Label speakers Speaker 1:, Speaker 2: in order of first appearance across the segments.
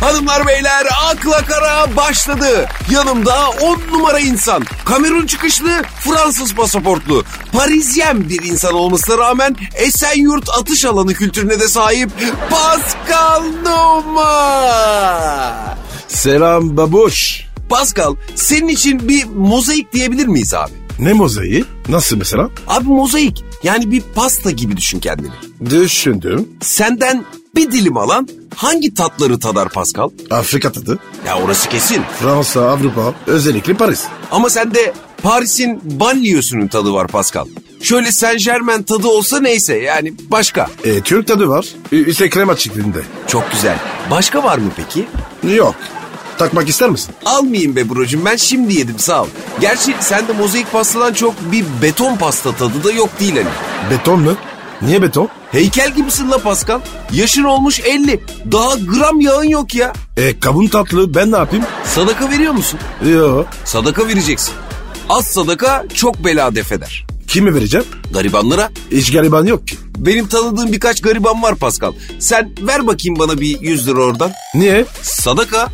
Speaker 1: Hanımlar beyler akla kara başladı. Yanımda 10 numara insan. Kamerun çıkışlı Fransız pasaportlu. Parizyen bir insan olmasına rağmen Esenyurt atış alanı kültürüne de sahip Pascal Numa.
Speaker 2: Selam babuş.
Speaker 1: Pascal senin için bir mozaik diyebilir miyiz abi?
Speaker 2: Ne mozaiği? Nasıl mesela?
Speaker 1: Abi mozaik yani bir pasta gibi düşün kendini.
Speaker 2: Düşündüm.
Speaker 1: Senden bir dilim alan hangi tatları tadar Pascal?
Speaker 2: Afrika tadı.
Speaker 1: Ya orası kesin.
Speaker 2: Fransa, Avrupa, özellikle Paris.
Speaker 1: Ama sende Paris'in banliyösünün tadı var Pascal. Şöyle Saint Germain tadı olsa neyse yani başka.
Speaker 2: E, Türk tadı var. Ü- Üstelik krema şeklinde.
Speaker 1: Çok güzel. Başka var mı peki?
Speaker 2: Yok. Takmak ister misin?
Speaker 1: Almayayım be brocum ben şimdi yedim sağ ol. Gerçi sende mozaik pastadan çok bir beton pasta tadı da yok değil hani.
Speaker 2: Beton mu? Niye beton?
Speaker 1: Heykel gibisin la Pascal. Yaşın olmuş 50. Daha gram yağın yok ya.
Speaker 2: E, kabın tatlı ben ne yapayım?
Speaker 1: Sadaka veriyor musun?
Speaker 2: Yo.
Speaker 1: Sadaka vereceksin. Az sadaka çok bela defeder.
Speaker 2: Kimi vereceğim?
Speaker 1: Garibanlara
Speaker 2: Hiç gariban yok ki.
Speaker 1: Benim tanıdığım birkaç gariban var Pascal. Sen ver bakayım bana bir 100 lira oradan.
Speaker 2: Niye?
Speaker 1: Sadaka.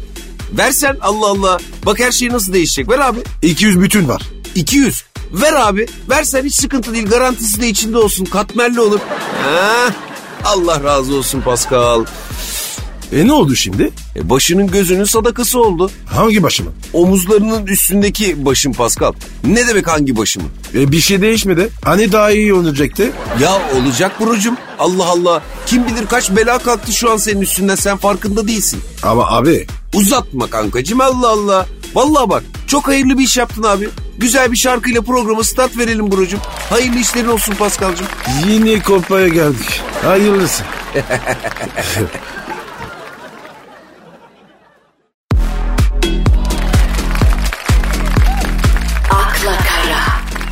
Speaker 1: Versen Allah Allah. Bak her şey nasıl değişecek. Ver abi.
Speaker 2: 200 bütün var.
Speaker 1: 200. Ver abi. Versen hiç sıkıntı değil. Garantisi de içinde olsun. Katmerli olur. Ha? Allah razı olsun Pascal.
Speaker 2: E ne oldu şimdi?
Speaker 1: E başının gözünün sadakası oldu.
Speaker 2: Hangi başıma?
Speaker 1: Omuzlarının üstündeki başın Pascal. Ne demek hangi başımın?
Speaker 2: E, bir şey değişmedi. Hani daha iyi olacaktı?
Speaker 1: Ya olacak Burucum. Allah Allah. Kim bilir kaç bela kalktı şu an senin üstünden. Sen farkında değilsin.
Speaker 2: Ama abi
Speaker 1: Uzatma kankacım Allah Allah. Vallahi bak çok hayırlı bir iş yaptın abi. Güzel bir şarkıyla programa start verelim Burucum. Hayırlı işlerin olsun Paskal'cım.
Speaker 2: yine kopaya geldik. Hayırlısı.
Speaker 3: akla kara,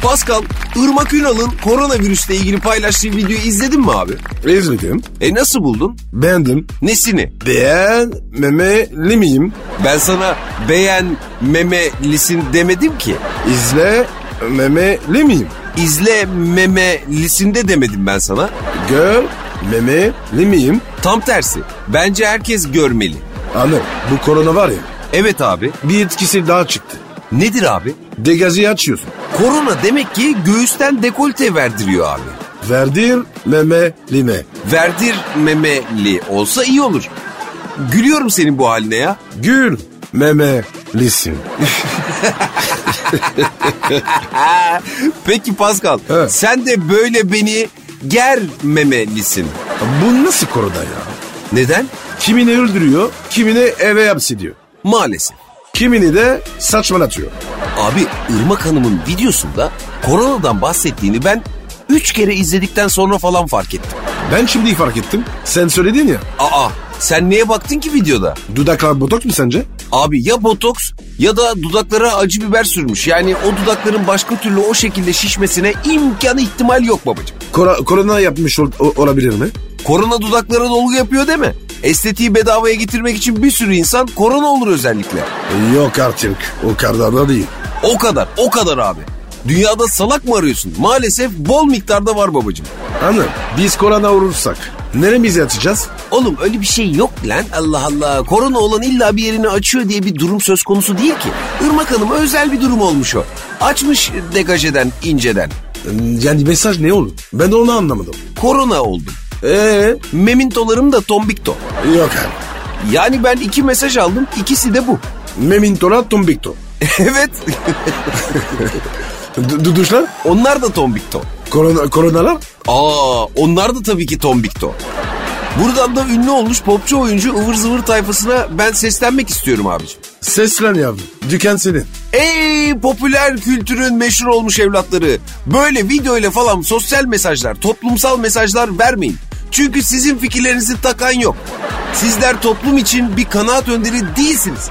Speaker 1: Paskal, Irmak Ünal'ın koronavirüsle ilgili paylaştığı videoyu izledin mi abi?
Speaker 2: İzledim.
Speaker 1: E nasıl buldun?
Speaker 2: Beğendim.
Speaker 1: Nesini?
Speaker 2: Beğenmemeli miyim?
Speaker 1: Ben sana beğen memelisin demedim ki.
Speaker 2: İzlememeli miyim?
Speaker 1: İzle memelisin de demedim ben sana.
Speaker 2: Görmemeli miyim?
Speaker 1: Tam tersi. Bence herkes görmeli.
Speaker 2: Anam bu korona var ya
Speaker 1: Evet abi.
Speaker 2: bir etkisi daha çıktı.
Speaker 1: Nedir abi?
Speaker 2: Degazı açıyorsun.
Speaker 1: Korona demek ki göğüsten dekolte verdiriyor abi.
Speaker 2: Verdir memeli mi?
Speaker 1: verdirmemeli olsa iyi olur. Gülüyorum senin bu haline ya.
Speaker 2: Gül memelisin.
Speaker 1: Ha, Peki Pascal
Speaker 2: Evet.
Speaker 1: sen de böyle beni germemelisin.
Speaker 2: Bu nasıl korona ya?
Speaker 1: Neden?
Speaker 2: Kimini öldürüyor, kimini eve hapsediyor.
Speaker 1: Maalesef.
Speaker 2: Kimini de saçmalatıyor.
Speaker 1: Abi Irmak Hanım'ın videosunda koronadan bahsettiğini ben 3 kere izledikten sonra falan fark ettim.
Speaker 2: Ben şimdi fark ettim. Sen söyledin ya.
Speaker 1: Aa sen neye baktın ki videoda?
Speaker 2: Dudaklar botok mu sence?
Speaker 1: Abi ya botoks ya da dudaklara acı biber sürmüş. Yani o dudakların başka türlü o şekilde şişmesine imkanı ihtimal yok babacığım.
Speaker 2: Kora- korona yapmış ol- o- olabilir mi?
Speaker 1: Korona dudaklara dolgu yapıyor değil mi? Estetiği bedavaya getirmek için bir sürü insan korona olur özellikle.
Speaker 2: Yok artık. O kadar da değil.
Speaker 1: O kadar, o kadar abi. Dünyada salak mı arıyorsun? Maalesef bol miktarda var babacığım.
Speaker 2: Hanım biz korona olursak neremize atacağız?
Speaker 1: Oğlum öyle bir şey yok lan Allah Allah. Korona olan illa bir yerini açıyor diye bir durum söz konusu değil ki. Irmak Hanım'a özel bir durum olmuş o. Açmış degaj eden, inceden.
Speaker 2: Yani mesaj ne olur? Ben de onu anlamadım.
Speaker 1: Korona oldum.
Speaker 2: Ee
Speaker 1: Memintolarım da tombikto.
Speaker 2: Yok abi.
Speaker 1: Yani ben iki mesaj aldım, ikisi de bu.
Speaker 2: Memintola tombikto.
Speaker 1: evet,
Speaker 2: Du- Duduşlar?
Speaker 1: onlar da tombikto.
Speaker 2: Korona, koronalar?
Speaker 1: Aa, onlar da tabii ki Tombikto. Buradan da ünlü olmuş popçu oyuncu ıvır zıvır tayfasına ben seslenmek istiyorum abicim.
Speaker 2: Seslen yavrum. Dükkan senin.
Speaker 1: Ey popüler kültürün meşhur olmuş evlatları. Böyle videoyla falan sosyal mesajlar, toplumsal mesajlar vermeyin. Çünkü sizin fikirlerinizi takan yok. Sizler toplum için bir kanaat önderi değilsiniz.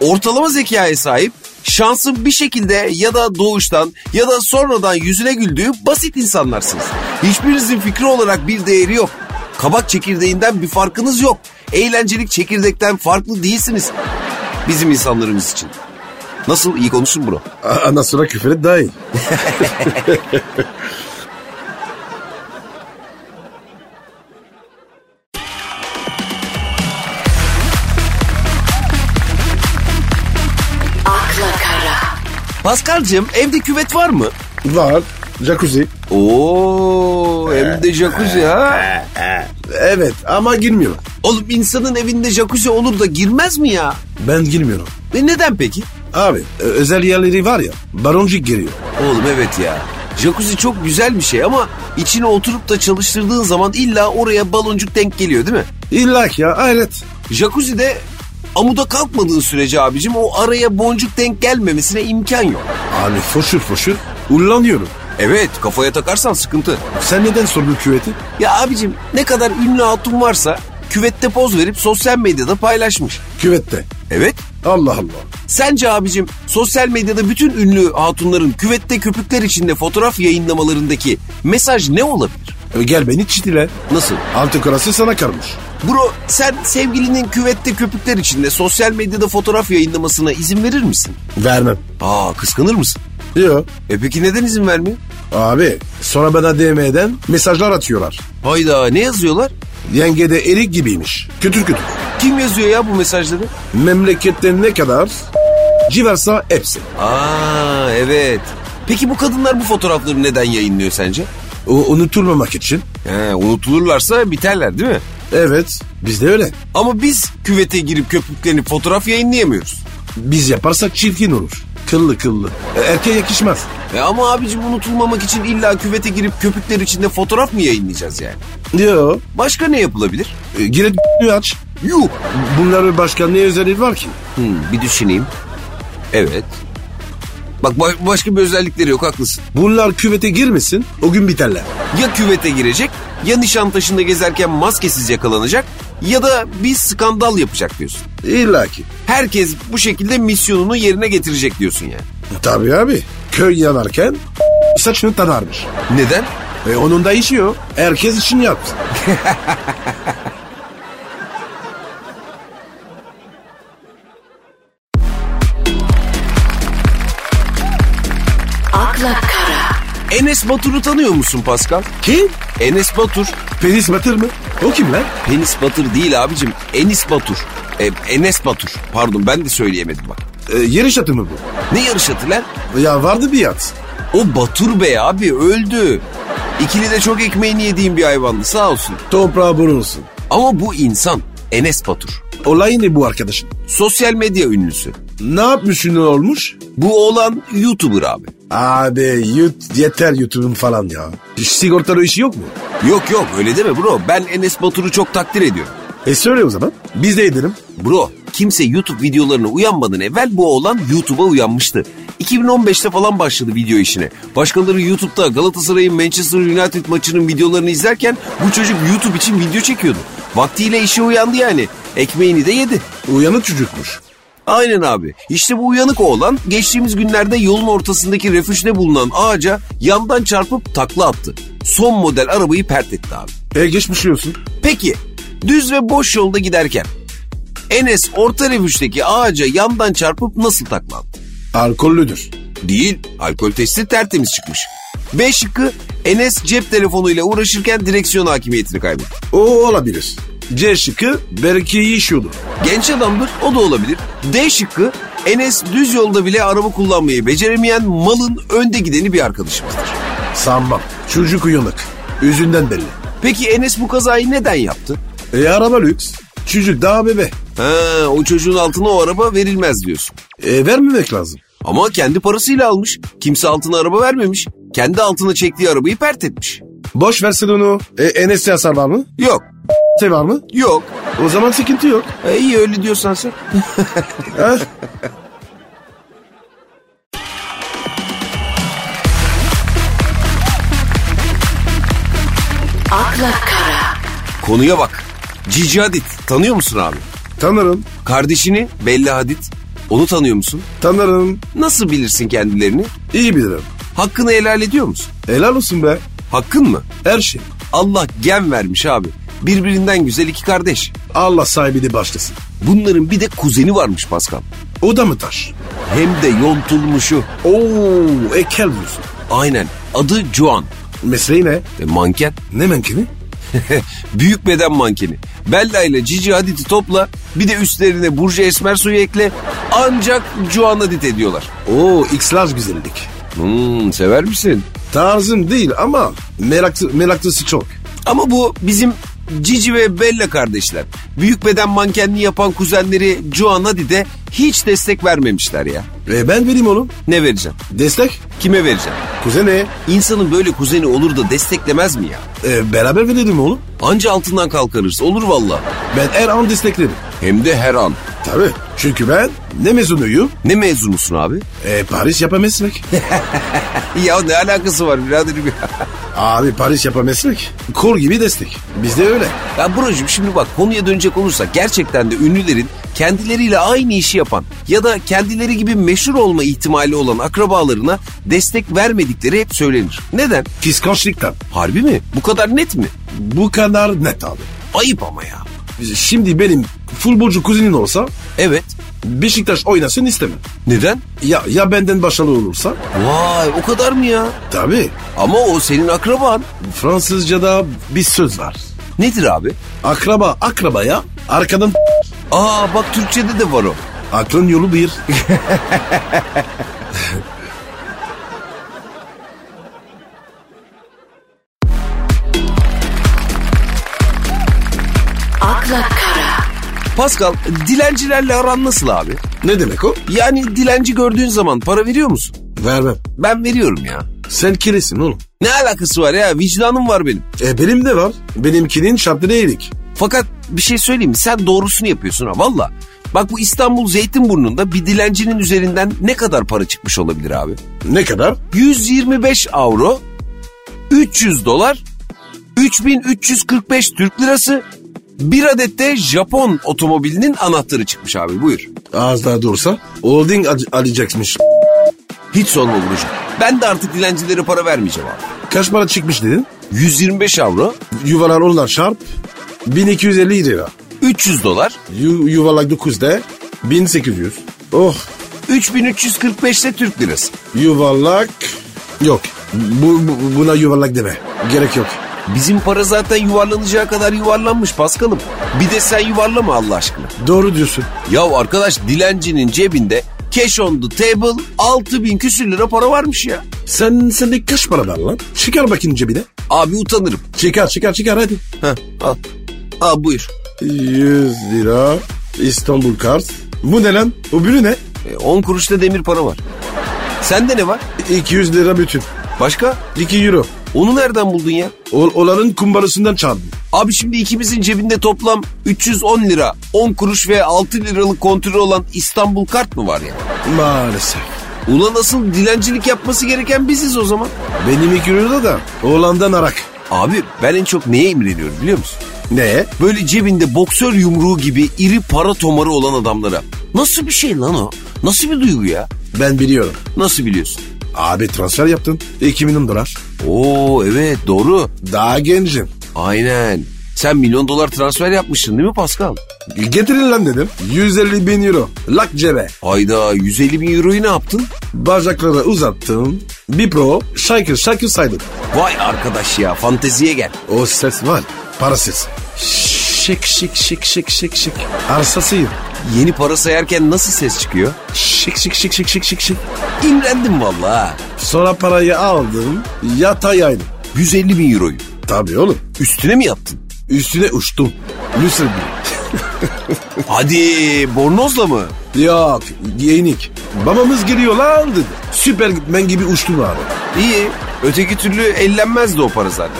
Speaker 1: Ortalama zekaya sahip, şansın bir şekilde ya da doğuştan ya da sonradan yüzüne güldüğü basit insanlarsınız. Hiçbirinizin fikri olarak bir değeri yok. Kabak çekirdeğinden bir farkınız yok. Eğlencelik çekirdekten farklı değilsiniz. Bizim insanlarımız için. Nasıl iyi konuştun bro?
Speaker 2: A- Ondan sonra küfür et daha iyi.
Speaker 1: Paskal'cığım evde küvet var mı?
Speaker 2: Var. Jacuzzi.
Speaker 1: Oo hem de jacuzzi ha.
Speaker 2: Evet ama girmiyorum.
Speaker 1: Oğlum insanın evinde jacuzzi olur da girmez mi ya?
Speaker 2: Ben girmiyorum.
Speaker 1: E neden peki?
Speaker 2: Abi ö- özel yerleri var ya baroncik giriyor.
Speaker 1: Oğlum evet ya. Jacuzzi çok güzel bir şey ama içine oturup da çalıştırdığın zaman illa oraya baloncuk denk geliyor değil mi?
Speaker 2: İlla ki ya hayret.
Speaker 1: Jacuzzi'de amuda kalkmadığın sürece abicim o araya boncuk denk gelmemesine imkan yok.
Speaker 2: Abi foşur foşur ullanıyorum.
Speaker 1: Evet kafaya takarsan sıkıntı.
Speaker 2: Sen neden sordun küveti?
Speaker 1: Ya abicim ne kadar ünlü hatun varsa küvette poz verip sosyal medyada paylaşmış.
Speaker 2: Küvette.
Speaker 1: Evet.
Speaker 2: Allah Allah.
Speaker 1: Sence abicim sosyal medyada bütün ünlü hatunların küvette köpükler içinde fotoğraf yayınlamalarındaki mesaj ne olabilir?
Speaker 2: E, Gel beni çitile.
Speaker 1: Nasıl?
Speaker 2: Altı karası sana karmış.
Speaker 1: Bro sen sevgilinin küvette köpükler içinde sosyal medyada fotoğraf yayınlamasına izin verir misin?
Speaker 2: Vermem.
Speaker 1: Aa kıskanır mısın?
Speaker 2: Yok.
Speaker 1: E peki neden izin vermiyor?
Speaker 2: Abi sonra bana DM'den mesajlar atıyorlar.
Speaker 1: Hayda ne yazıyorlar?
Speaker 2: Yenge de erik gibiymiş. Kütür kütür.
Speaker 1: Kim yazıyor ya bu mesajları?
Speaker 2: Memlekette ne kadar civarsa hepsi.
Speaker 1: Aa evet. Peki bu kadınlar bu fotoğrafları neden yayınlıyor sence?
Speaker 2: O unutulmamak için.
Speaker 1: He, unutulurlarsa biterler değil mi?
Speaker 2: Evet bizde öyle.
Speaker 1: Ama biz küvete girip köpüklenip fotoğraf yayınlayamıyoruz.
Speaker 2: Biz yaparsak çirkin olur. Kıllı kıllı. E, Erkeğe yakışmaz.
Speaker 1: E ama abicim unutulmamak için illa küvete girip köpükler içinde fotoğraf mı yayınlayacağız yani?
Speaker 2: Yo.
Speaker 1: Başka ne yapılabilir?
Speaker 2: E, Gire d- aç.
Speaker 1: Yuh.
Speaker 2: Bunların başka ne özelliği var ki?
Speaker 1: Hmm, bir düşüneyim. Evet. Bak ba- başka bir özellikleri yok haklısın.
Speaker 2: Bunlar küvete girmesin o gün biterler.
Speaker 1: Ya küvete girecek ya Nişantaşı'nda gezerken maskesiz yakalanacak ya da bir skandal yapacak diyorsun.
Speaker 2: İlla ki.
Speaker 1: Herkes bu şekilde misyonunu yerine getirecek diyorsun yani.
Speaker 2: Tabii abi. Köy yanarken saçını tararmış.
Speaker 1: Neden?
Speaker 2: E onun da işi yok. Herkes işini yaptı.
Speaker 3: akla kara,
Speaker 1: Enes Batur'u tanıyor musun Pascal?
Speaker 2: Kim?
Speaker 1: Enes Batur.
Speaker 2: Penis batır mı? O kim lan?
Speaker 1: Penis Batır değil abicim. Enis Batur. E, Enes Batur. Pardon ben de söyleyemedim bak.
Speaker 2: E, yarış atı mı bu?
Speaker 1: Ne yarış atı lan?
Speaker 2: Ya vardı bir at.
Speaker 1: O Batur Bey abi öldü. İkili de çok ekmeğini yediğim bir hayvandı sağ olsun.
Speaker 2: Toprağa burulsun.
Speaker 1: Ama bu insan Enes Batur.
Speaker 2: Olay ne bu arkadaşın?
Speaker 1: Sosyal medya ünlüsü.
Speaker 2: Ne yapmış ünlü olmuş?
Speaker 1: Bu olan YouTuber abi.
Speaker 2: Abi yut, yeter YouTube'un falan ya. Sigortalı işi yok mu?
Speaker 1: Yok yok öyle deme bro. Ben Enes Batur'u çok takdir ediyorum.
Speaker 2: E söyle o zaman. Biz de edelim.
Speaker 1: Bro kimse YouTube videolarına uyanmadan evvel bu oğlan YouTube'a uyanmıştı. 2015'te falan başladı video işine. Başkaları YouTube'da Galatasaray'ın Manchester United maçının videolarını izlerken bu çocuk YouTube için video çekiyordu. Vaktiyle işe uyandı yani. Ekmeğini de yedi.
Speaker 2: Uyanık çocukmuş.
Speaker 1: Aynen abi. İşte bu uyanık oğlan geçtiğimiz günlerde yolun ortasındaki refüjde bulunan ağaca yandan çarpıp takla attı. Son model arabayı pert etti abi.
Speaker 2: E geçmiş olsun.
Speaker 1: Peki düz ve boş yolda giderken Enes orta refüjdeki ağaca yandan çarpıp nasıl takla attı?
Speaker 2: Alkollüdür.
Speaker 1: Değil. Alkol testi tertemiz çıkmış. B şıkkı Enes cep telefonuyla uğraşırken direksiyon hakimiyetini kaybetti.
Speaker 2: O olabilir. C şıkkı belki iyi iş yolu.
Speaker 1: Genç adamdır o da olabilir. D şıkkı Enes düz yolda bile araba kullanmayı beceremeyen malın önde gideni bir arkadaşımızdır.
Speaker 2: Sanmam. Çocuk uyanık. Yüzünden belli.
Speaker 1: Peki Enes bu kazayı neden yaptı?
Speaker 2: E araba lüks. Çocuk daha bebe.
Speaker 1: Ha, o çocuğun altına o araba verilmez diyorsun.
Speaker 2: E vermemek lazım.
Speaker 1: Ama kendi parasıyla almış. Kimse altına araba vermemiş. Kendi altına çektiği arabayı pert etmiş.
Speaker 2: Boş versin onu. E Enes'te hasar var mı?
Speaker 1: Yok,
Speaker 2: Se var mı?
Speaker 1: yok.
Speaker 2: O zaman sıkıntı yok.
Speaker 1: E, iyi öyle diyorsan sen.
Speaker 2: Ha?
Speaker 3: akla kara,
Speaker 1: Konuya bak. Cici Hadid tanıyor musun abi?
Speaker 2: Tanırım.
Speaker 1: Kardeşini Bella Hadid. Onu tanıyor musun?
Speaker 2: Tanırım.
Speaker 1: Nasıl bilirsin kendilerini?
Speaker 2: İyi bilirim.
Speaker 1: Hakkını helal ediyor musun?
Speaker 2: Helal olsun be.
Speaker 1: Hakkın mı?
Speaker 2: Her şey.
Speaker 1: Allah gen vermiş abi. Birbirinden güzel iki kardeş.
Speaker 2: Allah sahibi de başlasın.
Speaker 1: Bunların bir de kuzeni varmış Pascal.
Speaker 2: O da mı taş?
Speaker 1: Hem de yontulmuşu.
Speaker 2: Oo, ekel diyorsun.
Speaker 1: Aynen. Adı Juan.
Speaker 2: Mesleği ne?
Speaker 1: E, manken.
Speaker 2: Ne menkeni?
Speaker 1: Büyük beden mankeni. Bella ile Cici Hadid'i topla bir de üstlerine Burcu Esmer suyu ekle ancak Cuanadit ediyorlar.
Speaker 2: Oo X-Large güzellik.
Speaker 1: Hmm, sever misin?
Speaker 2: Tarzım değil ama meraklı, meraklısı çok.
Speaker 1: Ama bu bizim Cici ve Bella kardeşler. Büyük beden mankenliği yapan kuzenleri Cuanadit'e hiç destek vermemişler ya.
Speaker 2: E ben vereyim onu.
Speaker 1: Ne vereceğim?
Speaker 2: Destek.
Speaker 1: Kime vereceğim?
Speaker 2: Kuzene.
Speaker 1: İnsanın böyle kuzeni olur da desteklemez mi ya?
Speaker 2: E, beraber verelim oğlum.
Speaker 1: Anca altından kalkarız. Olur valla.
Speaker 2: Ben her an desteklerim.
Speaker 1: Hem de her an.
Speaker 2: Tabii. Çünkü ben ne mezunuyum?
Speaker 1: Ne mezunusun abi?
Speaker 2: E, Paris yapa meslek.
Speaker 1: Ya ne alakası var biraderim ya?
Speaker 2: Abi Paris yapa meslek. Kor gibi destek. Bizde öyle.
Speaker 1: Ya Buracığım şimdi bak konuya dönecek olursak gerçekten de ünlülerin kendileriyle aynı işi yapan ya da kendileri gibi meşhur olma ihtimali olan akrabalarına destek vermedikleri hep söylenir. Neden?
Speaker 2: Kıskançlıktan.
Speaker 1: Harbi mi? Bu kadar net mi?
Speaker 2: Bu kadar net abi.
Speaker 1: Ayıp ama ya.
Speaker 2: Şimdi benim futbolcu kuzenin olsa
Speaker 1: Evet.
Speaker 2: Beşiktaş oynasın istemem.
Speaker 1: Neden?
Speaker 2: Ya, ya benden başarılı olursa?
Speaker 1: Vay o kadar mı ya?
Speaker 2: Tabii.
Speaker 1: Ama o senin akraban.
Speaker 2: Fransızca'da bir söz var.
Speaker 1: Nedir abi?
Speaker 2: Akraba akrabaya arkadan
Speaker 1: Aa bak Türkçe'de de var o.
Speaker 2: aklın yolu bir.
Speaker 3: akla kara,
Speaker 1: Pascal dilencilerle aran nasıl abi?
Speaker 2: ne demek o?
Speaker 1: Yani dilenci gördüğün zaman para veriyor musun?
Speaker 2: Vermem.
Speaker 1: Ben veriyorum ya.
Speaker 2: Sen kiresin oğlum.
Speaker 1: Ne alakası var ya vicdanım var benim.
Speaker 2: E benim de var. Benimkinin şartları eğrik.
Speaker 1: Fakat bir şey söyleyeyim mi? Sen doğrusunu yapıyorsun ha valla. Bak bu İstanbul Zeytinburnu'nda bir dilencinin üzerinden ne kadar para çıkmış olabilir abi?
Speaker 2: Ne kadar?
Speaker 1: 125 avro, 300 dolar, 3345 Türk lirası, bir adet de Japon otomobilinin anahtarı çıkmış abi buyur.
Speaker 2: Az daha dursa holding al- alacakmış.
Speaker 1: Hiç sorma Burcu. Ben de artık dilencilere para vermeyeceğim abi.
Speaker 2: Kaç para çıkmış dedin?
Speaker 1: 125 avro,
Speaker 2: Yuvalar onlar şarp. 1250 lira.
Speaker 1: 300 dolar,
Speaker 2: Yu- yuvarlak 9'da 1800. Oh
Speaker 1: 3345 de Türk lirası.
Speaker 2: Yuvarlak yok. Bu, bu- buna yuvarlak deme. Gerek yok.
Speaker 1: Bizim para zaten yuvarlanacağı kadar yuvarlanmış Paskal'ım. Bir de sen yuvarlama Allah aşkına.
Speaker 2: Doğru diyorsun.
Speaker 1: Yav arkadaş dilencinin cebinde cash on the table 6000 küsür lira para varmış ya.
Speaker 2: Sen sende kaç para var lan? Çıkar bakayım cebine.
Speaker 1: Abi utanırım.
Speaker 2: Çıkar çıkar çıkar hadi.
Speaker 1: Heh, al. Al buyur.
Speaker 2: 100 lira İstanbul kart. Bu ne lan? Öbürü ne?
Speaker 1: E, 10 kuruşta demir para var. Sende ne var?
Speaker 2: 200 lira bütün.
Speaker 1: Başka?
Speaker 2: 2 euro.
Speaker 1: Onu nereden buldun ya?
Speaker 2: Ol- olanın kumbarasından çaldım.
Speaker 1: Abi şimdi ikimizin cebinde toplam 310 lira, 10 kuruş ve 6 liralık kontürü olan İstanbul kart mı var ya?
Speaker 2: Maalesef.
Speaker 1: Ulan asıl dilencilik yapması gereken biziz o zaman.
Speaker 2: Benim 2 euro da oğlandan arak.
Speaker 1: Abi ben en çok neye imreniyorum biliyor musun?
Speaker 2: Ne?
Speaker 1: Böyle cebinde boksör yumruğu gibi iri para tomarı olan adamlara. Nasıl bir şey lan o? Nasıl bir duygu ya?
Speaker 2: Ben biliyorum.
Speaker 1: Nasıl biliyorsun?
Speaker 2: Abi transfer yaptın. 2 milyon dolar.
Speaker 1: Oo evet doğru.
Speaker 2: Daha gencim.
Speaker 1: Aynen. Sen milyon dolar transfer yapmışsın değil mi Pascal?
Speaker 2: Getirin lan dedim. 150 bin euro. Lak cebe.
Speaker 1: Hayda 150 bin euroyu ne yaptın?
Speaker 2: Bacakları uzattım. Bir pro şarkı şarkı saydım.
Speaker 1: Vay arkadaş ya fanteziye gel.
Speaker 2: O ses var. Para sesi. Şık şık şık şık şık şık. Arsasıyım.
Speaker 1: Yeni para sayarken nasıl ses çıkıyor?
Speaker 2: Şık şık şık şık şık şık şık.
Speaker 1: İmrendim valla.
Speaker 2: Sonra parayı aldım. Yata yaydım.
Speaker 1: 150 bin euroyu.
Speaker 2: Tabii oğlum.
Speaker 1: Üstüne mi yaptın?
Speaker 2: Üstüne uçtum. Lütfen.
Speaker 1: Hadi bornozla mı?
Speaker 2: Yok yenik. Babamız geliyor lan dedi. Süpermen gibi uçtum abi.
Speaker 1: İyi. Öteki türlü ellenmezdi o para zaten.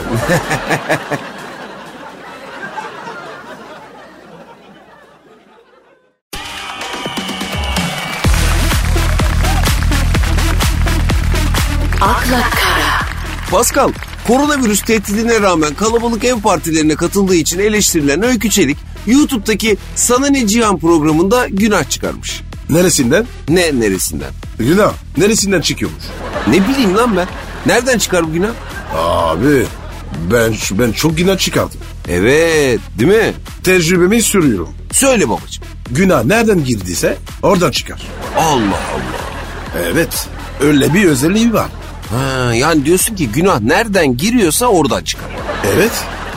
Speaker 3: akla kara,
Speaker 1: Pascal, koronavirüs tehdidine rağmen kalabalık ev partilerine katıldığı için eleştirilen Öykü Çelik, YouTube'daki Sana Ne Cihan programında günah çıkarmış.
Speaker 2: Neresinden?
Speaker 1: Ne neresinden?
Speaker 2: Günah. Neresinden çıkıyormuş?
Speaker 1: Ne bileyim lan ben. Nereden çıkar bu günah?
Speaker 2: Abi ben ben çok günah çıkardım.
Speaker 1: Evet, değil mi?
Speaker 2: Tecrübemi sürüyorum.
Speaker 1: Söyle babacığım.
Speaker 2: Günah nereden girdiyse oradan çıkar.
Speaker 1: Allah Allah.
Speaker 2: Evet. Öyle bir özelliği var.
Speaker 1: Ha, yani diyorsun ki günah nereden giriyorsa oradan çıkar.
Speaker 2: Evet.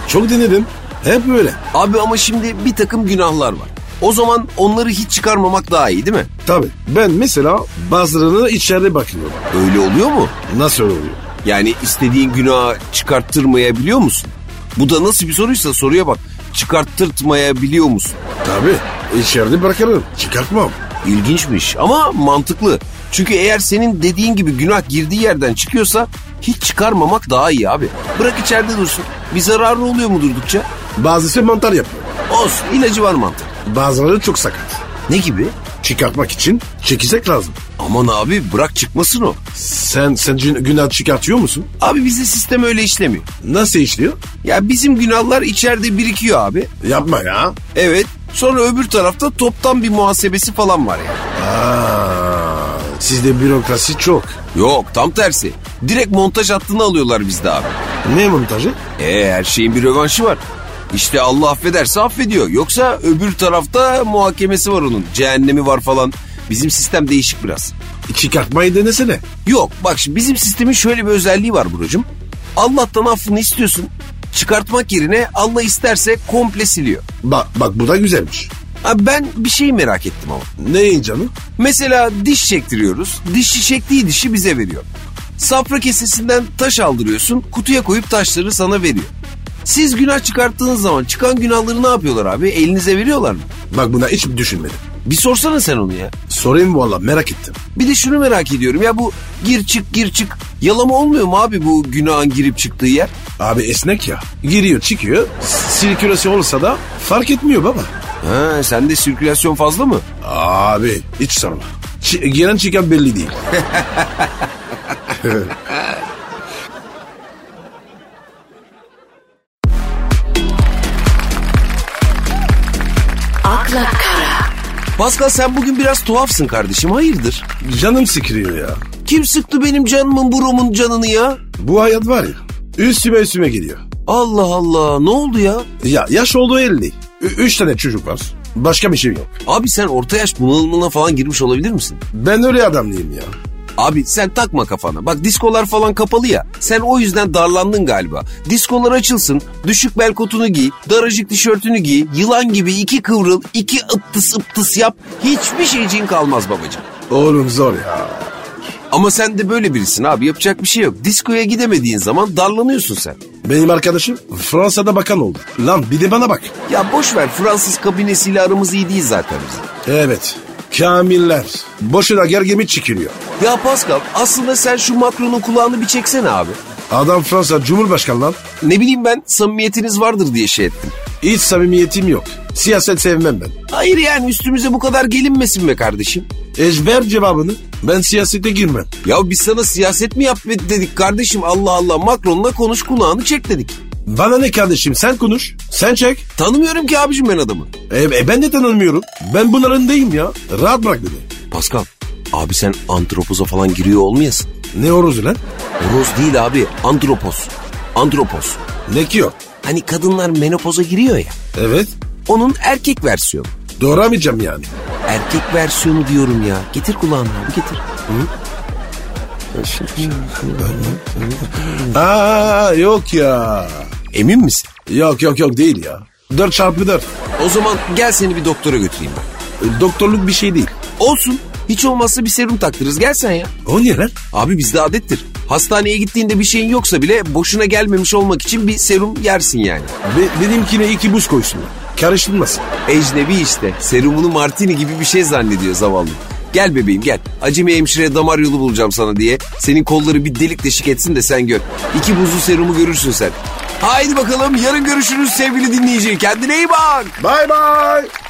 Speaker 2: Çok denedim. Hep böyle.
Speaker 1: Abi ama şimdi bir takım günahlar var. O zaman onları hiç çıkarmamak daha iyi değil mi?
Speaker 2: Tabii. Ben mesela bazılarını içeride bakıyorum.
Speaker 1: Öyle oluyor mu?
Speaker 2: Nasıl oluyor?
Speaker 1: Yani istediğin günahı çıkarttırmayabiliyor musun? Bu da nasıl bir soruysa soruya bak. Çıkarttırtmayabiliyor musun?
Speaker 2: Tabii. içeride bırakırım. Çıkartmam.
Speaker 1: İlginçmiş ama mantıklı. Çünkü eğer senin dediğin gibi günah girdiği yerden çıkıyorsa hiç çıkarmamak daha iyi abi. Bırak içeride dursun. Bir zararı oluyor mu durdukça?
Speaker 2: Bazısı mantar yapıyor.
Speaker 1: Olsun ilacı var mantık.
Speaker 2: Bazıları çok sakat.
Speaker 1: Ne gibi?
Speaker 2: Çıkartmak için çekecek lazım.
Speaker 1: Aman abi bırak çıkmasın o.
Speaker 2: Sen sen gün- günah çıkartıyor musun?
Speaker 1: Abi bizde sistem öyle işlemiyor.
Speaker 2: Nasıl işliyor?
Speaker 1: Ya bizim günahlar içeride birikiyor abi.
Speaker 2: Yapma ya.
Speaker 1: Evet sonra öbür tarafta toptan bir muhasebesi falan var yani.
Speaker 2: Aa, sizde bürokrasi çok.
Speaker 1: Yok tam tersi. Direkt montaj hattını alıyorlar bizde abi.
Speaker 2: Ne montajı?
Speaker 1: E her şeyin bir rövanşı var. İşte Allah affederse affediyor. Yoksa öbür tarafta muhakemesi var onun. Cehennemi var falan. Bizim sistem değişik biraz.
Speaker 2: Çıkartmayı denesene.
Speaker 1: Yok bak şimdi bizim sistemin şöyle bir özelliği var Buracığım. Allah'tan affını istiyorsun. Çıkartmak yerine Allah isterse komple siliyor.
Speaker 2: Bak bak bu da güzelmiş.
Speaker 1: Ha, ben bir şey merak ettim ama.
Speaker 2: Neyin canım?
Speaker 1: Mesela diş çektiriyoruz. Dişçi çektiği dişi bize veriyor. Safra kesesinden taş aldırıyorsun. Kutuya koyup taşları sana veriyor. Siz günah çıkarttığınız zaman çıkan günahları ne yapıyorlar abi? Elinize veriyorlar mı?
Speaker 2: Bak buna hiç düşünmedim.
Speaker 1: Bir sorsana sen onu ya.
Speaker 2: Sorayım valla merak ettim.
Speaker 1: Bir de şunu merak ediyorum ya bu gir çık gir çık yalama olmuyor mu abi bu günahın girip çıktığı yer?
Speaker 2: Abi esnek ya. Giriyor çıkıyor. S- Sirkülasyon olsa da fark etmiyor baba.
Speaker 1: Ha sende sirkülasyon fazla mı?
Speaker 2: Abi hiç sorma. Ç- giren çıkan belli değil.
Speaker 3: akla kara,
Speaker 1: Pascal sen bugün biraz tuhafsın kardeşim hayırdır?
Speaker 2: Canım sıkılıyor ya. Kim?
Speaker 1: Kim sıktı benim canımın burumun canını ya?
Speaker 2: Bu hayat var ya. Üstüme üstüme geliyor.
Speaker 1: Allah Allah ne oldu ya?
Speaker 2: Ya yaş olduğu 50. Ü- üç tane çocuk var. Başka bir şey yok.
Speaker 1: Abi sen orta yaş bunalımına falan girmiş olabilir misin?
Speaker 2: Ben öyle adam değilim ya.
Speaker 1: Abi sen takma kafana. Bak diskolar falan kapalı ya. Sen o yüzden darlandın galiba. Diskolar açılsın. Düşük bel kotunu giy. Daracık tişörtünü giy. Yılan gibi iki kıvrıl, iki ıptıs ıptıs yap. Hiçbir şeyciğin kalmaz babacığım.
Speaker 2: Oğlum zor ya.
Speaker 1: Ama sen de böyle birisin abi. Yapacak bir şey yok. Diskoya gidemediğin zaman darlanıyorsun sen.
Speaker 2: Benim arkadaşım Fransa'da bakan oldu. Lan bir de bana bak.
Speaker 1: Ya boş ver Fransız kabinesiyle aramız iyi değil zaten bizim.
Speaker 2: Evet. Kamiller. Boşuna gergemi çekiliyor.
Speaker 1: Ya Pascal aslında sen şu Macron'un kulağını bir çeksene abi.
Speaker 2: Adam Fransa Cumhurbaşkanı lan.
Speaker 1: Ne bileyim ben samimiyetiniz vardır diye şey ettim.
Speaker 2: Hiç samimiyetim yok. Siyaset sevmem ben.
Speaker 1: Hayır yani üstümüze bu kadar gelinmesin be kardeşim.
Speaker 2: Ejber cevabını. Ben siyasete girmem.
Speaker 1: Ya biz sana siyaset mi yap dedik kardeşim Allah Allah Macron'la konuş kulağını çek dedik.
Speaker 2: Bana ne kardeşim sen konuş. Sen çek.
Speaker 1: Tanımıyorum ki abicim ben adamı.
Speaker 2: E, e, ben de tanımıyorum. Ben bunların değilim ya. Rahat bırak beni.
Speaker 1: Pascal abi sen antropoza falan giriyor olmayasın.
Speaker 2: Ne orozu lan?
Speaker 1: Horoz değil abi antropoz. Antropoz.
Speaker 2: Ne ki o?
Speaker 1: Hani kadınlar menopoza giriyor ya.
Speaker 2: Evet.
Speaker 1: Onun erkek versiyonu.
Speaker 2: Doğramayacağım yani.
Speaker 1: Erkek versiyonu diyorum ya. Getir kulağını abi getir.
Speaker 2: Aa yok ya.
Speaker 1: Emin misin?
Speaker 2: Yok yok yok değil ya. 4 çarpı 4.
Speaker 1: O zaman gel seni bir doktora götüreyim ben.
Speaker 2: Doktorluk bir şey değil.
Speaker 1: Olsun. Hiç olmazsa bir serum taktırırız. Gel sen ya.
Speaker 2: O ne lan?
Speaker 1: Abi bizde adettir. Hastaneye gittiğinde bir şeyin yoksa bile boşuna gelmemiş olmak için bir serum yersin yani.
Speaker 2: Be- benimkine iki buz koysunlar. Karıştırmasın.
Speaker 1: Ecnebi işte. Serumunu martini gibi bir şey zannediyor zavallı. Gel bebeğim gel. Acemi hemşireye damar yolu bulacağım sana diye. Senin kolları bir delik deşik etsin de sen gör. İki buzlu serumu görürsün sen. Haydi bakalım yarın görüşürüz sevgili dinleyici. Kendine iyi bak.
Speaker 2: Bye bye.